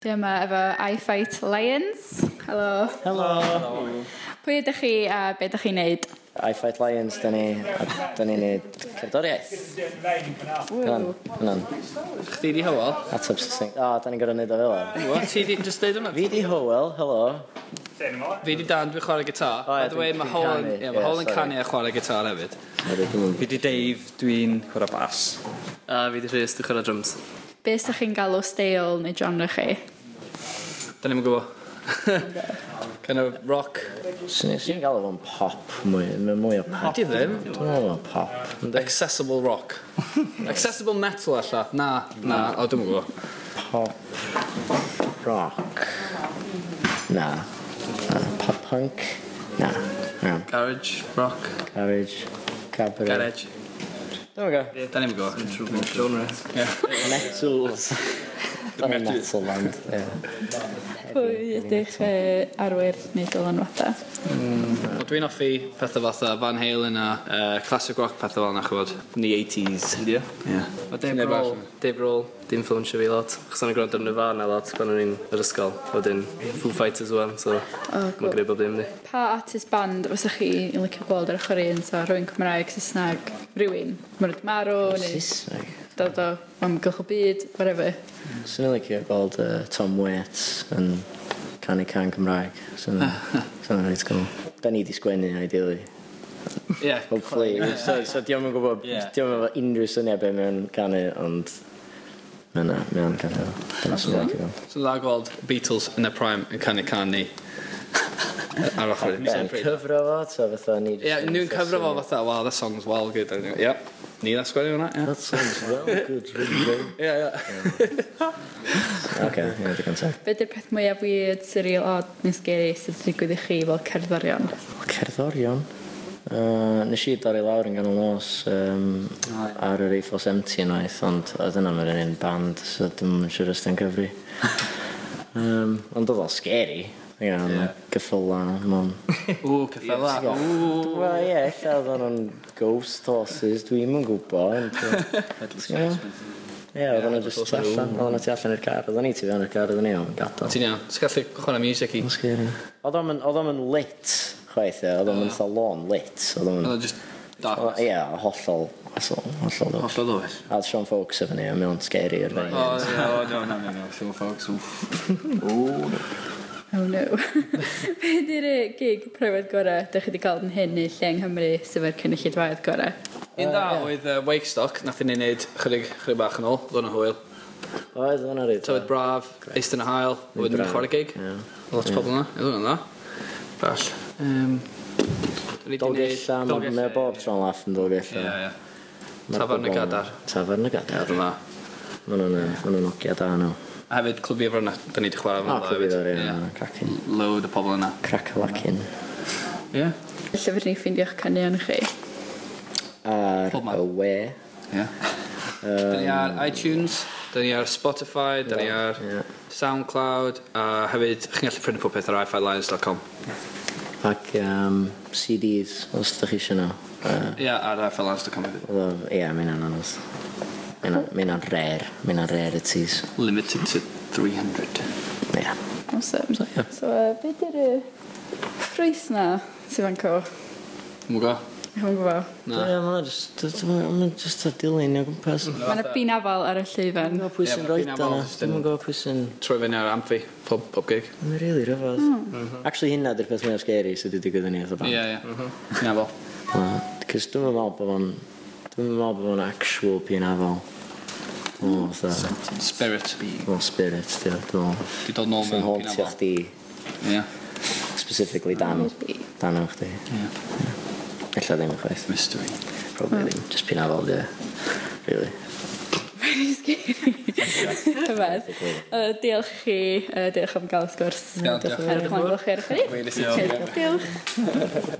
Dwi yma efo I Fight Lions. Helo. Helo! Pwy ydych chi a be ydych chi'n neud? I Fight Lions, da ni, a da ni'n neud cerddoriaeth. Hwnan, hwnan. Chdi di Hywel? Ateb succinct. O, da ni'n gorau neud o fel o. What? Ti di just deud hwnna? Fi di Howell, helo. Fi di Dan, dwi'n chwarae gitar. O, ie, By the way, Oh, dwi'n- dwi'n mae Hywel yn- canu, ie, ie, mae Hywel yn sorry. canu a chwarae gitar hefyd. Hedi, dwi'm yn- Fi di Dave, dwi'n chwarae bas. A fi di Rhys, dwi'n chwarae drums. Be ydych chi'n galw steil neu genre chi? Da ni'n gwybod. kind of rock. Swn i- swn i'n galw fo'n pop mwy, mae'n mwy o pop. Di ddim. Dwi'n meddwl fo'n pop. Yndi? Accessible rock. Accessible metal alla. Na, na, o dwi'n gwybod. Pop. Rock. Na. Na. Pop punk. Na. Na. Garage, rock, Garage. Cabaret. garage. Dwi'n gwybod. Da ni'n gwybod. Genre. Metals. Dwi'n metal band. ie. Pwy ydych chi arwyr neu dylanwadau? Wel, Dwi'n offi pethau fatha Van Halen a uh, classic rock pethau fel yna, chwbod. Yn the 80s. Ie. Ie. O Dave Roll, Dave Roll, di influensio fi lot. Chos o'n i'n gwrando ar Nirvana lot pan o'n i'n yr ysgol. A wedyn Foo Fighters wan, so Oh, mae'n cool. greu bob dim di. Pa artist band fysa chi yn licio gweld ar ochr un? So, rhywun Cymraeg, Saesneg, rhywun mwyd marw, neu Saesneg. dod o amgylch y byd, whatever. Swn i'n licio gweld uh, Tom Waits yn canu can Cymraeg. Swn i'n reit cool. Da ni di sgwennu ideally. Ie. Hopefully. so, so diolch yn gwybod, yeah. diolch yn efo unrhyw syniad be mewn canu, ond... Mae yna, mae yna'n canu. Dyna sy'n i'n licio gweld. So dda gweld Beatles yn y prime yn canu can ni. Ar ochr. Be, yn Ie, cyfro fo, ta fatha ni... jyst yn nhw'n cyfro fo syniad? fatha, wow, that song's well good. Ie. Yep. Ni dda sgwennu hwnna, That sounds well good, really good. ie. Ie, ie. OK, ie, digon teg. Be ydy'r peth mwyaf weird, surreal, odd neu scary sydd wedi digwydd i chi fel cerddorion? Cerddorion. Uh, nes i dorri lawr yn ganol nos um, ar yr Eiffels Empty yn oeth, ond oedd yna mewn un band, so dim yn siŵr os ti'n cyfri. um, ond oedd o'n scary. Ie, yeah. gyffyla, mwn. Ww, cyffela. Ww. Wel, ie, yeah, oedd o'n ghost horses, dwi'n yn gwybod. Ie, oedd o'n just tu allan, oedd o'n tu allan i'r car, oedd o'n i tu fewn i'r car, oedd o'n i o'n gadael. Ti'n iawn. Ti'n gallu chwarae music i. Oedd o'n scary. Oedd o'm yn- oedd o'm yn lit, chwaith, ie, oedd o'n mynd salon lit. Oedd o'n Oedd o just dark. O, Ie, hollol. Hollol, hollol. do. Hollol ddwyll. A oedd Sean Fawkes efo ni, a mewn scary ar fyny. O, ie, o, Oh, no, no, no, no, Sean Fox, wff. Oh no. Be ydy'r yy, gig pryfed gorau ydych chi wedi cael yn hyn neu lle yng Nghymru sef yr cynulleidfaoedd gorau? Oh, Un da oedd yy, Wakestock, nath i ni wneud chryg, chryg bach yn ôl, ddod yn hwyl. Oedd hwnna rhaid. Tywydd braf, eist yn y hael, a wedyn braf, chwarae gig. ie. Lot o pobl yna, ydw hwnna'n dda. Bell. Yym, dyn ni 'di neud- Dolgella, mae ma bob tro'n laff yn Ie, dolgella. ie. Tafarn y Gadar. Tafarn y Ie, gadar. dwi'n dda. Ma' nhw'n- ma' nhw'n ogia da nhw. A hefyd, clwb i'r fyna, da ni wedi chwarae O, fan dda clywed o'r Ie. un. Cracin. Load o pobl yna. Cracalacin. Ie. Felly fydden ni'n ffeindio'ch canion i chi. Ar Pob man. y we. Ie. Da ni ar iTunes, da ni ar Spotify, da ni ar Ie. SoundCloud, a hefyd, chi'n gallu prynu popeth ar ifilions.com. Ac yym, CDs, os ydych chi eisiau nhw. Yy, Ie, ar ifilions.com hefyd. oedd o- Ie, mae hynna'n anodd. Mae hynna- mae hynna'n rare. Mae hynna'n rarities. Limited to 300. Ie. Awesome. So, uh, be ydy'r yy, ffrwyth na sydd fan co? Mwgo? Hwn gwybod. Ie, mae hwnna jyst- ma' hwnna jyst a dilyn o gwmpas. Mae yna bin afal ar y Dwi'n lleufen. gwybod pwy Ie, sy'n ma' roed Pina yna. Walls Dwi'n yn- gwybod pwy sy'n... Troi fyny ar Amphi, pob, pob gig. Mae'n rili rhyfedd. Actually, hynna dy'r peth mwyaf scary sydd wedi digwydd i ni eitha Mhm. Ie, band. ie. Na fo. Cys dwi'n meddwl bod fo'n... Dwi'n meddwl bod fo'n actual pianafol. Dwi'n meddwl fatha... Spirit. Dwi'n meddwl spirit, di o, dwi'n meddwl. Di dod nôl Sy'n mewn hontio pianafol. chdi, Ie. specifically dan. Hmm. Dan o chdi. Ella ddim yn chwaith. Mystery. Probably ddim. Just pianafol, di o. Really. Mae'n sgeri. Hyfedd. Yy, Diolch chi. yy, Diolch am gael y sgwrs. Iawn, diolch. Diolch am gael y sgwrs. Diolch.